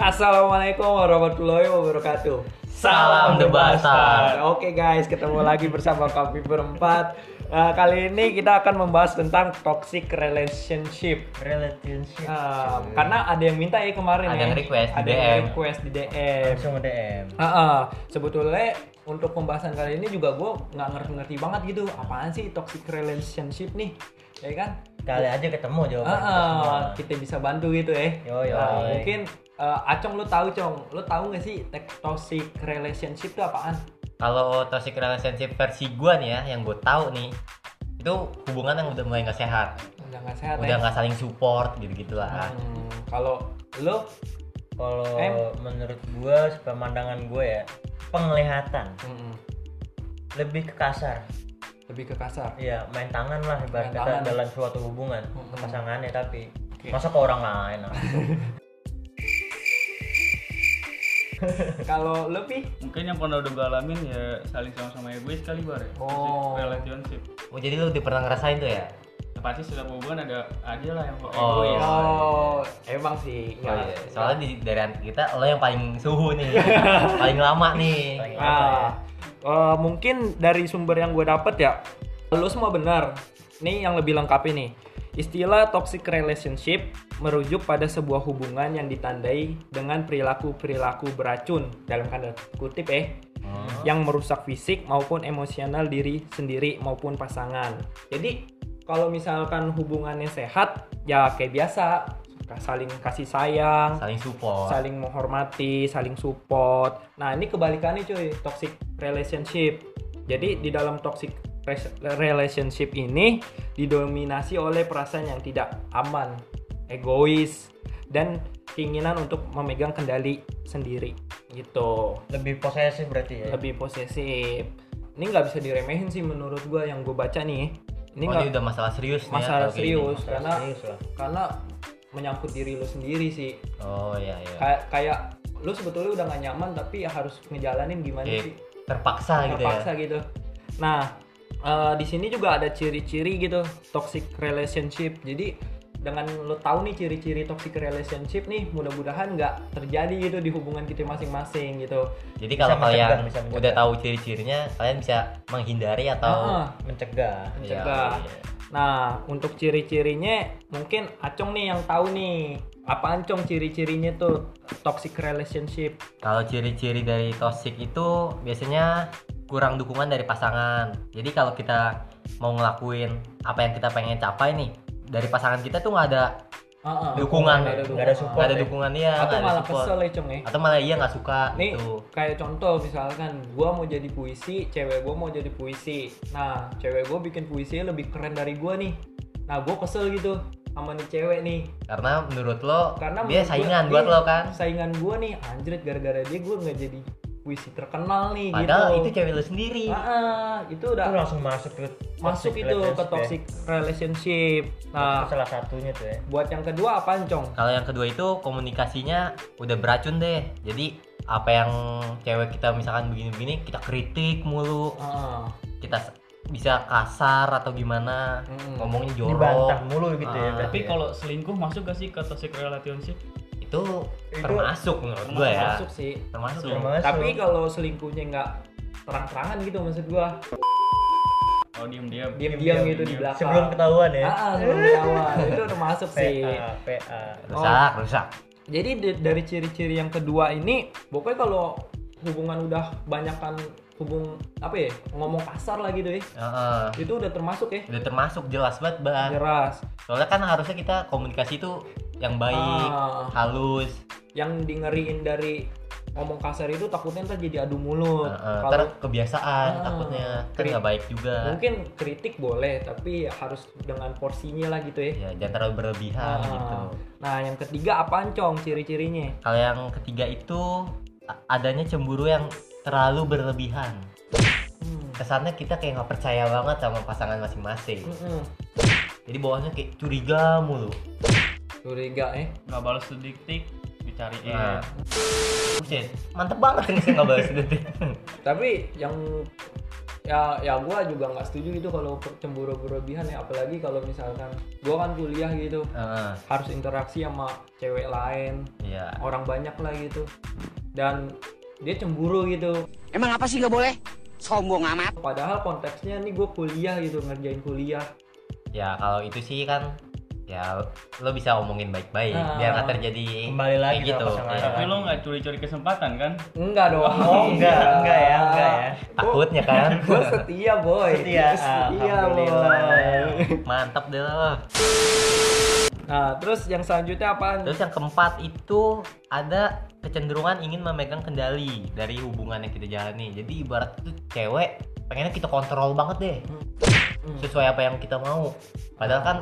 Assalamualaikum warahmatullahi wabarakatuh. Salam debasan. Oke guys, ketemu lagi bersama kami berempat. Eh, kali ini kita akan membahas tentang toxic relationship. Relationship. Eh, karena ada yang minta ya kemarin Ada ya. yang request di Ada yang DM. request di DM. langsung DM Heeh, sebetulnya untuk pembahasan kali ini juga gue nggak ngerti-ngerti banget gitu apaan sih toxic relationship nih ya kan kali aja ketemu jawaban Heeh, kita bisa bantu gitu ya Yoi, yoi. Nah, mungkin eh, acong lu tahu cong lu tahu nggak sih te- toxic relationship itu apaan Kalau toxic relationship versi gua nih ya, yang gue tahu nih, itu hubungan yang udah mulai nggak sehat, udah nggak sehat udah ya nggak saling support gitu-gitu lah. Hmm, kalau lu kalau Em? menurut gua pemandangan gua ya penglihatan mm, lebih ke kasar lebih ke kasar iya main tangan lah ibarat Main kata tangan. dalam suatu hubungan Mm-mm. ke pasangannya tapi Oke. masa ke orang lain ah? kalau lu pi mungkin yang pernah udah gue alamin ya saling sama-sama egois kali bar ya Oh. relationship Oh jadi lu udah pernah ngerasain tuh ya? ya, pasti setiap hubungan ada aja lah yang kok Oh. egois oh emang sih Oh, nggak- iya. Soalnya di, dari an- kita lo yang paling suhu nih, paling lama nih. Gitu. Paling lama. ya. iya. Ah, eh, mungkin dari sumber yang gue dapet ya, lu semua benar. Nih yang lebih lengkap ini. Istilah toxic relationship merujuk pada sebuah hubungan yang ditandai dengan perilaku-perilaku beracun dalam tanda kutip eh Hmm. Ya. yang merusak fisik maupun emosional diri sendiri maupun pasangan. Jadi kalau misalkan hubungannya sehat ya kayak biasa saling kasih sayang, Saling support. saling menghormati, saling support. Nah, ini kebalikannya cuy, toxic relationship. Jadi di dalam toxic res- relationship ini didominasi oleh perasaan yang tidak aman, egois, dan keinginan untuk memegang kendali sendiri gitu. lebih posesif berarti ya Lebih posesif. Ini nggak bisa diremehin sih menurut gua yang gue baca nih. Ini Ini oh, nggak ini udah masalah serius nih ya, masalah kalau kayak gini. serius Masalah karena serius lah. karena menyangkut diri lu sendiri sih Oh iya iya. kayak kayak lu sebetulnya udah gak nyaman tapi ya harus ngejalanin gimana Iya, sih terpaksa, gitu ya. terpaksa gitu nah eh, di sini juga ada ciri-ciri gitu toxic relationship jadi dengan lu tahu nih ciri-ciri toxic relationship nih mudah-mudahan nggak terjadi gitu di hubungan kita masing-masing gitu Jadi kalau mencegah, kalian bisa mencegah. udah tahu ciri-cirinya, kalian bisa menghindari atau Heeh. mencegah Iya, mencegah. iya. nah untuk ciri-cirinya mungkin acong nih yang tahu nih apa acong ciri-cirinya tuh toxic relationship Kalau ciri-ciri dari toxic itu biasanya kurang dukungan dari pasangan. Jadi kalau kita mau ngelakuin apa yang kita pengen capai nih, dari pasangan kita tuh nggak ada Heeh. Dukungan, Nggak ada nggak dukungan. ada nggak support. ada ya. dukungan dia, atau nggak ada malah support. kesel ya cong ya Atau malah iya nggak suka Nih, gitu. kayak contoh misalkan gua mau jadi puisi, cewek gua mau jadi puisi. Nah, cewek gua bikin puisi lebih keren dari gua nih. Nah, gua kesel gitu sama nih cewek nih. Karena menurut lo Karena menurut dia gua- saingan iya, buat lo kan. Saingan gua nih, anjrit gara-gara dia gua nggak jadi puisi terkenal nih Padahal itu gitu. cewek lo sendiri. Ah, ah, itu udah itu langsung masuk ke masuk toxic itu ke relationship ya. toxic relationship. Itu Nah, salah satunya tuh ya buat yang kedua apaan, Cong? Kalau yang kedua itu komunikasinya udah beracun deh. Jadi apa yang cewek kita misalkan begini-begini kita kritik mulu, Ah, kita s- bisa kasar atau gimana, mm-mm. ngomongnya dibantah jorok. mulu gitu ya Ah. berarti tapi ya. kalau selingkuh masuk gak sih ke toxic relationship Itu Itu termasuk menurut gua ya. Masuk sih. Termasuk. ya. termasuk. Tapi kalau selingkuhnya nggak terang-terangan gitu maksud gua. oh diem diam diam-diam Diam-diam, gitu di belakang. sebelum ketahuan ya Ah, ah, sebelum ketahuan. itu termasuk sih. PA PA Rusak, Oh. rusak. Jadi di- dari ciri-ciri yang kedua ini, pokoknya kalau hubungan udah banyakkan hubung apa ya ngomong kasar lah gitu ya Heeh. itu udah termasuk ya Udah termasuk jelas banget, Bang. Iya. keras Soalnya kan harusnya kita komunikasi itu yang baik, Ah, halus. yang dingeriin dari ngomong kasar itu takutnya ntar jadi adu mulut Heeh. Ntar kalau kebiasaan Ah. takutnya kan Kri- nggak baik juga. mungkin kritik boleh tapi ya harus dengan porsinya lah gitu ya Ya, jangan terlalu berlebihan Ah. gitu. nah yang ketiga apaan cong ciri-cirinya Kalau yang ketiga itu a- adanya cemburu yang terlalu berlebihan. Hmm. Kesannya kita kayak nggak percaya banget sama pasangan masing-masing. Mm-mm. Jadi bawahnya kayak curiga mulu. curiga eh nggak balas sedikit Nah. dicariin Buset, mantep banget ini saya nggak balas detik. Tapi yang ya ya gue juga nggak setuju gitu kalau per- cemburu berlebihan ya apalagi kalau misalkan gue kan kuliah gitu Heeh, harus interaksi sama cewek lain iya orang banyak lah gitu dan dia cemburu gitu Emang apa sih nggak boleh? Sombong amat. padahal konteksnya nih gue kuliah gitu ngerjain kuliah ya kalau itu sih kan ya lo bisa omongin baik-baik Ah. biar nggak terjadi Kembali lagi kayak gitu sama pasangan. Iya. Tapi lo nggak curi-curi kesempatan kan? enggak dong Oh, enggak, enggak ya, enggak ya. takutnya kan gue setia boy Setia, Gua setia alhamdulillah. boy mantap deh lo nah terus yang selanjutnya apaan terus yang keempat itu ada kecenderungan ingin memegang kendali dari hubungan yang kita jalani jadi ibarat itu cewek pengennya kita kontrol banget deh Hmm. sesuai apa yang kita mau padahal kan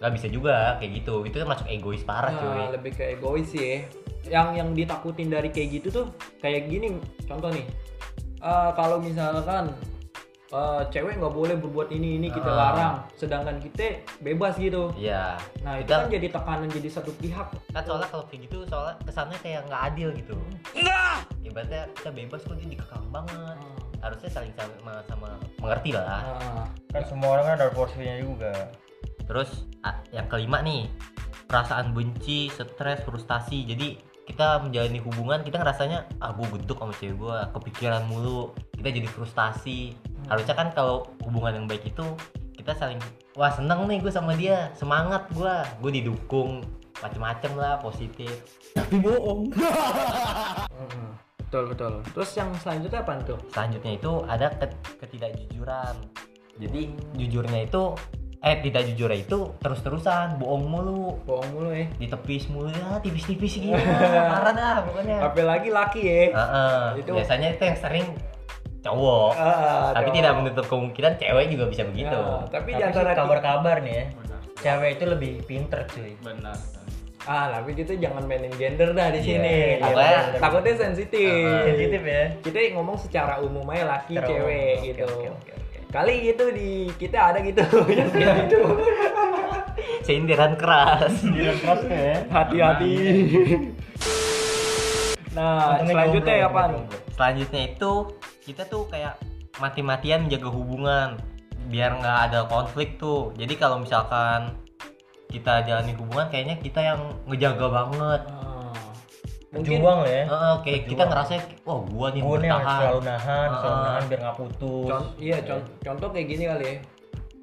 nggak bisa juga kayak gitu itu kan masuk egois parah Iya. cuy Nah, lebih ke egois sih yang yang ditakutin dari kayak gitu tuh kayak gini contoh nih Eh, kalau misalkan eh, cewek nggak boleh berbuat ini ini kita Ah. larang sedangkan kita bebas gitu iya nah itu Kita- kan jadi tekanan jadi satu pihak kan soalnya kalau kayak gitu soalnya kesannya kayak nggak adil gitu ibaratnya kita bebas kok dia dikekang banget harusnya saling sama, sama mengerti lah Nah, Kan semua orang kan ada porsinya juga. terus a- yang kelima nih perasaan benci stres frustasi jadi kita menjalani hubungan kita ngerasanya ah gue bentuk sama cewek gue kepikiran mulu kita jadi frustasi harusnya kan kalau hubungan yang baik itu kita saling wah seneng nih gue sama dia semangat gue gue didukung macem-macem lah positif Mm-mm. betul betul terus yang selanjutnya apa tuh selanjutnya itu ada ke- ketidakjujuran jadi jujurnya itu eh tidak jujur itu terus-terusan bohong mulu bohong mulu Eh. ya ditepis mulu ya tipis-tipis gitu parah dah pokoknya apalagi laki ya Heeh, Itu- biasanya itu yang sering cowok Ah, tapi dong. tidak gitu. menutup kemungkinan cewek juga bisa begitu Ya, tapi di Tapi antara sih kabar-kabar nih ya, Benar. cewek itu lebih pinter cuy. Benar. ah tapi kita jangan mainin gender dah di Iya. sini Iya, Takutnya- bener. takutnya sensitif Ah, Sensitif ya. kita ngomong secara umum aja laki Terus. cewek Oke, gitu oke, oke, oke. kali gitu di kita ada gitu yang kayak gitu sindiran keras ya. hati-hati nah Untungnya selanjutnya jomblo, apa nih untungnya selanjutnya itu kita tuh kayak mati-matian menjaga hubungan biar nggak ada konflik tuh jadi kalau misalkan kita jalani hubungan kayaknya kita yang ngejaga banget jomblo. mungkin Ah, Juang lah ya. Heeh, kayak kita ngerasa wah gua nih yang Gue nih yang bertahan. selalu nahan, selalu Ah. nahan biar nggak putus. con- iya con- contoh kayak gini kali ya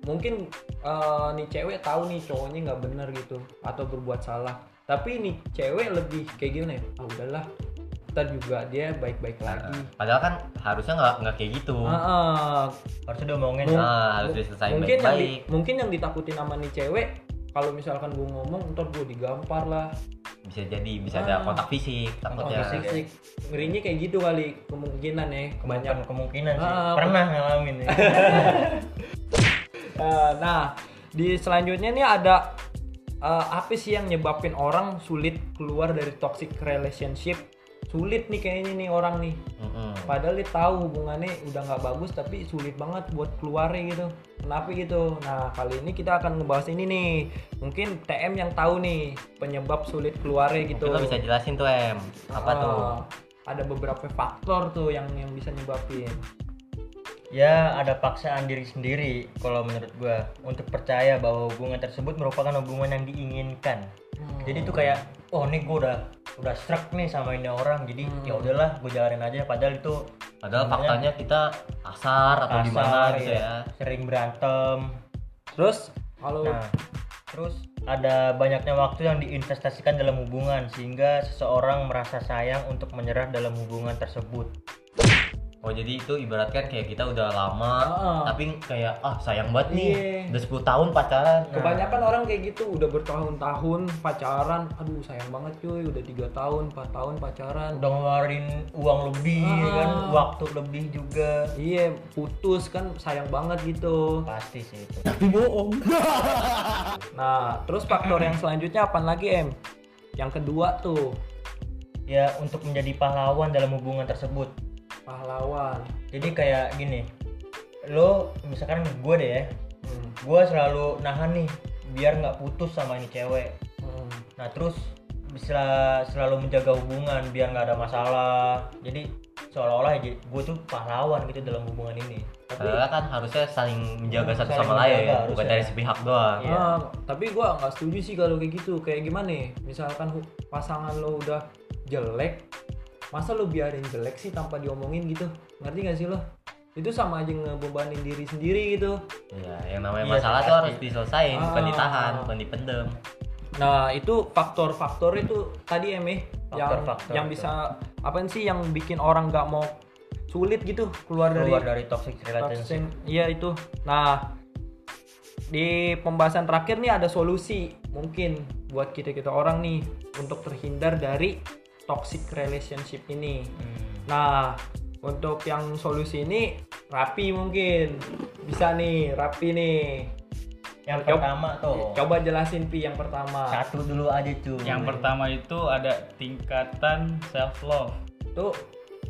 mungkin eh, nih cewek tahu nih cowoknya nggak bener gitu atau berbuat salah tapi nih cewek lebih kayak gini ya ah udahlah ntar juga dia baik-baik lagi Heeh. padahal kan harusnya nggak nggak kayak gitu Oh. Ah, ah. Harusnya diomongin. Mung- Nah, harus diselesaikan mungkin yang di- baik-baik mungkin yang ditakutin sama nih cewek kalau misalkan gue ngomong ntar gue digampar lah bisa jadi bisa Ah. ada kontak fisik takutnya Kontak fisik. iya. ngerinya kayak gitu kali kemungkinan ya Kebanyakan kemungkinan sih. Ah, ah. Pernah ngalamin ya. Eh, nah di selanjutnya nih ada eh, apa sih yang nyebabin orang sulit keluar dari toxic relationship sulit nih kayaknya nih orang nih Mm-mm. padahal dia tahu hubungannya udah nggak bagus tapi sulit banget buat keluarnya gitu kenapa gitu nah kali ini kita akan ngebahas ini nih mungkin TM yang tahu nih penyebab sulit keluarnya gitu Mungkin lo kan bisa jelasin tuh em apa Ah, tuh ada beberapa faktor tuh yang yang bisa nyebabin Ya ada paksaan diri sendiri kalau menurut gua untuk percaya bahwa hubungan tersebut merupakan hubungan yang diinginkan. Hmm. Jadi itu kayak oh nih gua udah udah struck nih sama ini orang jadi ya udahlah gua jalanin aja padahal itu padahal sebenarnya faktanya kita kasar atau kasar, gimana gitu iya. ya sering berantem. terus kalau Nah, terus ada banyaknya waktu yang diinvestasikan dalam hubungan sehingga seseorang merasa sayang untuk menyerah dalam hubungan tersebut. Oh jadi itu ibaratkan kayak kita udah lama Heeh. tapi kayak ah sayang banget nih Iya. Nah. udah 10 tahun pacaran Kebanyakan orang kayak gitu udah bertahun-tahun pacaran, aduh sayang banget cuy, udah tiga tahun, 4 tahun pacaran, Kan Udah ngeluarin uang lebih ya kan, Ah. waktu lebih juga. iya putus kan sayang banget gitu. Pasti sih itu. Nah terus faktor yang selanjutnya apa lagi em? Yang kedua tuh ya untuk menjadi pahlawan dalam hubungan tersebut pahlawan. jadi kayak gini lo misalkan gue deh ya Hmm, gue selalu nahan nih biar nggak putus sama ini cewek hmm. nah terus bisa selalu menjaga hubungan biar nggak ada masalah jadi seolah-olah gue tuh pahlawan gitu dalam hubungan ini Padahal kan harusnya saling menjaga satu Saling sama lain, menjaga bukan harusnya. dari sepihak doang. Iya. Ah, tapi gua nggak setuju sih kalau kayak gitu. Kayak gimana nih? Misalkan hu- pasangan lo udah jelek, masa lo biarin jelek sih tanpa diomongin gitu? Ngerti gak sih lo? Itu sama aja ngebebanin diri sendiri gitu. Iya, yang namanya Iya, masalah pasti. tuh harus diselesain, bukan Ah. ditahan, bukan dipendem. Nah, itu faktor-faktor itu tadi ya, Meh, yang Faktor-faktor yang itu. bisa apaan sih yang bikin orang nggak mau sulit gitu keluar, keluar dari dari toxic relationship Absen- Iya itu. Nah, di pembahasan terakhir nih ada solusi mungkin buat kita kita orang nih untuk terhindar dari toxic relationship ini. Nah, untuk yang solusi ini rapi mungkin bisa nih rapi nih. yang Coba- pertama tuh Coba jelasin pi yang pertama. satu dulu aja cuy Yang pertama itu ada tingkatan self love. Itu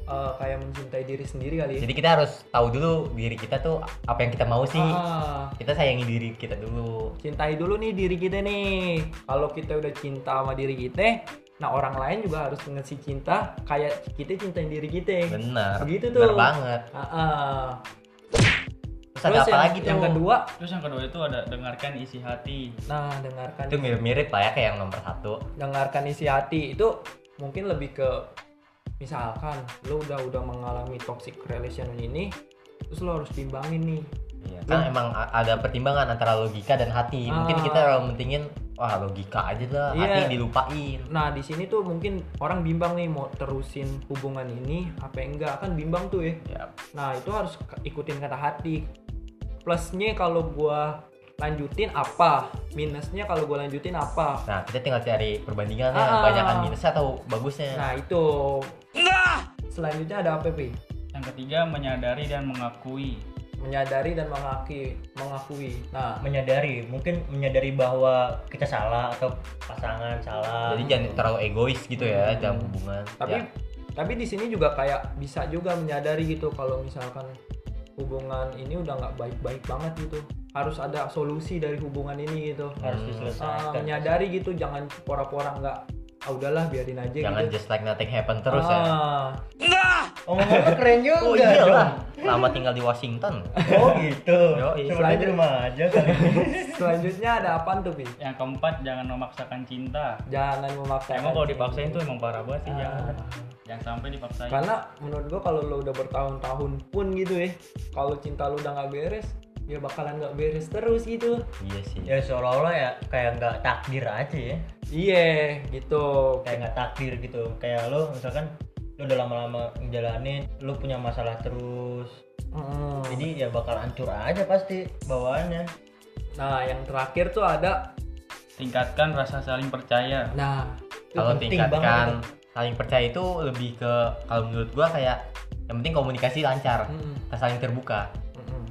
eh, kayak mencintai diri sendiri kali. ya. Jadi kita harus tahu dulu diri kita tuh apa yang kita mau sih. Ah. Kita sayangi diri kita dulu. cintai dulu nih diri kita nih kalau kita udah cinta sama diri kita nah orang lain juga harus ngasih cinta kayak kita cintain diri kita Bener. Begitu Bener tuh. banget. Ah, ah. Terus, ada apa yang, lagi tuh? yang kedua Terus yang kedua itu ada dengarkan isi hati. nah dengarkan Itu mirip-mirip lah ya kayak yang nomor satu. dengarkan isi hati itu mungkin lebih ke misalkan lo udah udah mengalami toxic relation ini terus lo harus timbangin nih Iya, kan Lu- emang a- ada pertimbangan antara logika dan hati. Mungkin Ah. kita orang mentingin wah logika aja lah, Iya. hati dilupain. nah di sini tuh mungkin orang bimbang nih mau terusin hubungan ini apa enggak kan bimbang tuh ya Ya, Nah itu harus ke- ikutin kata hati. Plusnya kalau gua lanjutin apa, minusnya kalau gua lanjutin apa. Nah, kita tinggal cari perbandingannya, Ah. banyakan kan minusnya atau bagusnya. Nah itu. Selanjutnya ada apa Pi? Yang ketiga menyadari dan mengakui. Menyadari dan mengakui, mengakui. Nah menyadari mungkin menyadari bahwa kita salah atau pasangan salah Jadi jangan terlalu egois gitu ya dalam hubungan. tapi Ya, tapi di sini juga kayak bisa juga menyadari gitu kalau misalkan hubungan ini udah nggak baik-baik banget gitu. Harus ada solusi dari hubungan ini gitu. harus Hmm. Ah, diselesaikan menyadari gitu, jangan pora-pora nggak. Ah udahlah biarin aja jangan gitu. just like nothing happen terus ya. Ah. oh ngomongnya keren juga Oh iya lah, lama tinggal di Washington. dong. oh gitu Yoi. sebenarnya di rumah aja kali Selanjutnya ada apaan tuh, Pi? Yang keempat jangan memaksakan cinta. Jangan memaksa. Emang kalau dipaksain tuh emang parah banget sih Ah. jangan. Jangan sampai dipaksain. Karena menurut gua kalau lo udah bertahun-tahun pun gitu ya, kalau cinta lo udah nggak beres, ya bakalan nggak beres terus gitu. Iya sih. ya seolah-olah ya kayak nggak takdir aja ya Iya, gitu. kayak nggak takdir gitu kayak lo misalkan lo udah lama-lama ngejalanin lo punya masalah terus Mm. jadi ya bakal hancur aja pasti bawaannya Nah, yang terakhir tuh ada, Tingkatkan rasa saling percaya. nah, itu Kalau penting banget. tingkatkan saling percaya itu lebih ke kalau menurut gua kayak yang penting komunikasi lancar, Mm, kita saling terbuka. mm.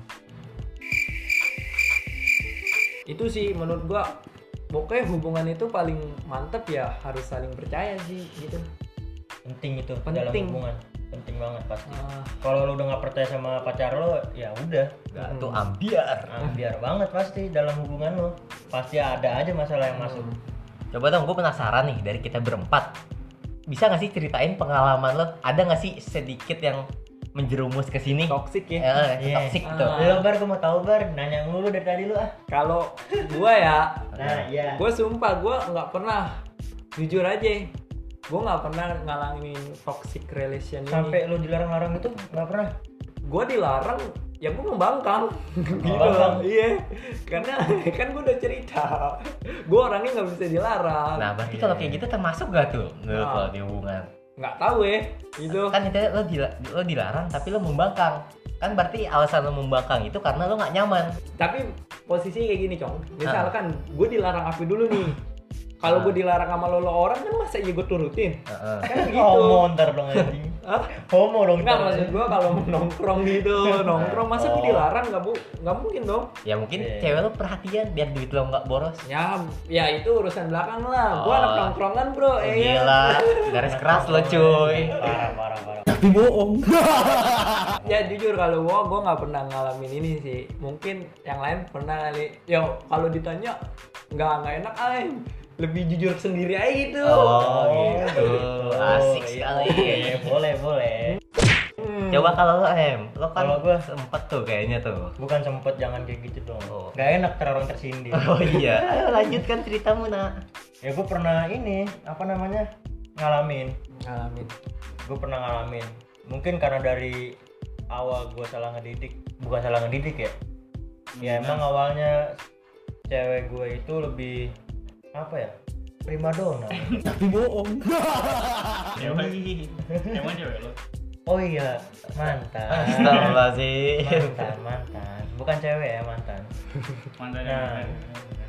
Itu sih menurut gua pokoknya hubungan itu paling mantep ya harus saling percaya sih gitu. penting itu dalam Penting. hubungan penting banget pasti Ah, kalau lo udah nggak percaya sama pacar lo ya udah Gak Mm. tuh ambiar. Ah, biar banget pasti dalam hubungan lo pasti ada aja masalah yang masuk Eh, Coba dong, gue penasaran nih dari kita berempat. Bisa gak sih ceritain pengalaman lo? Ada gak sih sedikit yang menjerumus ke sini? toxic ya. Eh, Iya. toxic Ah. tuh. lo bar gue mau tahu bar nanya mulu dari tadi lu ah Kalau gua ya nah iya gue sumpah gue nggak pernah jujur aja gue nggak pernah ngalamin toxic relation ini sampai lu dilarang-larang itu nggak pernah gue dilarang ya gue membangkang gitu Membangkang. loh iya karena kan gue udah cerita gue orangnya nggak bisa dilarang Nah, berarti kalau kayak gitu termasuk gak tuh menurut Nah. lo di hubungan? nggak tahu ya gitu Kan itu lo, dila- lo dilarang tapi lo membangkang. Kan berarti alasan lo membangkang itu karena lo gak nyaman. tapi posisinya kayak gini cong misalkan gue dilarang apa dulu nih kalau gue dilarang sama lo, lo orang kan masa iya gue turutin Heeh. kan gitu homo ntar Oh, dong anjing Hah? homo dong Enggak ntar. maksud gua kalau mau nongkrong gitu, nongkrong masa gua Oh. dilarang nggak bu, nggak mungkin dong. Ya mungkin Iya. cewek lo perhatian biar duit lo gak boros. Ya, ya itu urusan belakang lah. Gua Oh. anak nongkrongan bro, Oh, eh. Gila, garis keras lo cuy. parah parah parah Ya jujur kalau gua, gua nggak pernah ngalamin ini sih. Mungkin yang lain pernah kali. Yo, kalau ditanya nggak nggak enak ay. Lebih jujur sendiri aja gitu. Oh, gitu. Asik iya. sekali. Oke, boleh boleh Hmm. Coba kalau lo em, lo kan Kalau gua- sempet tuh kayaknya tuh. Bukan sempet jangan kayak gitu dong. Oh. Gak enak ter orang tersindir. Oh iya, ayo lanjutkan ceritamu nak. ya gue pernah ini apa namanya ngalamin. Ngalamin. Gue pernah ngalamin. Mungkin karena dari awal gue salah ngedidik, bukan salah ngedidik ya. Ya emang awalnya cewek gue itu lebih apa ya? Primadona. Ah, cewek emang cewek lo Oh iya, mantan. Astagfirullahaladzim. mantan, mantan. Bukan cewek ya, mantan. mantan Nah. nah.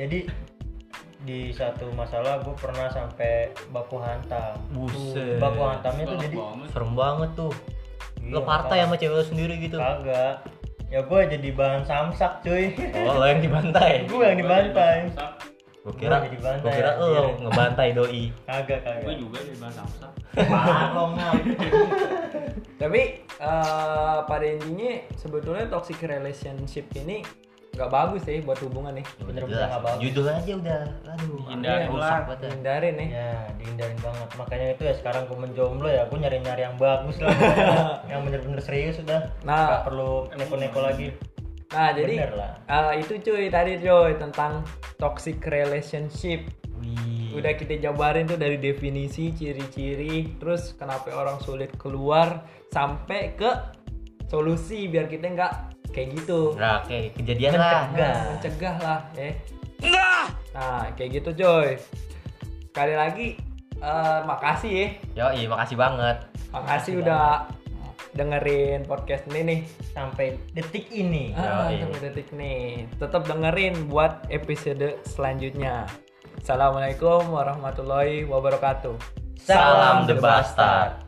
jadi di satu masalah gue pernah sampai baku hantam Buset. baku hantamnya tuh jadi Serem banget tuh. Lo Iya, partai sama cewek lo sendiri gitu. kagak ya gue jadi bahan samsak cuy Oh, lo yang dibantai. gue yang dibantai Gua kira, Gua yang dibantai, gua kira anjir. lo ngebantai doi. kagak gue kagak juga jadi bahasa samsak Tapi eh, pada intinya sebetulnya toxic relationship ini nggak bagus sih buat hubungan nih. Bener-bener Jelas. nggak bagus. Judul aja udah, aduh, Hindari rusak lah. banget ya. Hindarin nih. ya dihindarin banget makanya itu ya sekarang gue menjomblo ya gue nyari nyari yang bagus lah ya. yang bener-bener serius udah Nah. nggak perlu neko-neko lagi Nah jadi bener lah eh, itu cuy tadi cuy tentang toxic relationship. Iya. Wih. Udah kita jabarin tuh dari definisi, ciri-ciri, terus kenapa orang sulit keluar sampai ke solusi biar kita nggak kayak gitu. Nah, oke, kejadian lah. Nah, mencegah lah, ya. Nah, kayak gitu, coy. Sekali lagi eh, makasih ya. Yo, iya, makasih banget. Makasih udah dengerin podcast ini nih. sampai detik ini Ah, Yoi. sampai detik nih. Tetap dengerin buat episode selanjutnya. Assalamualaikum warahmatullahi wabarakatuh. Salam The Bastard.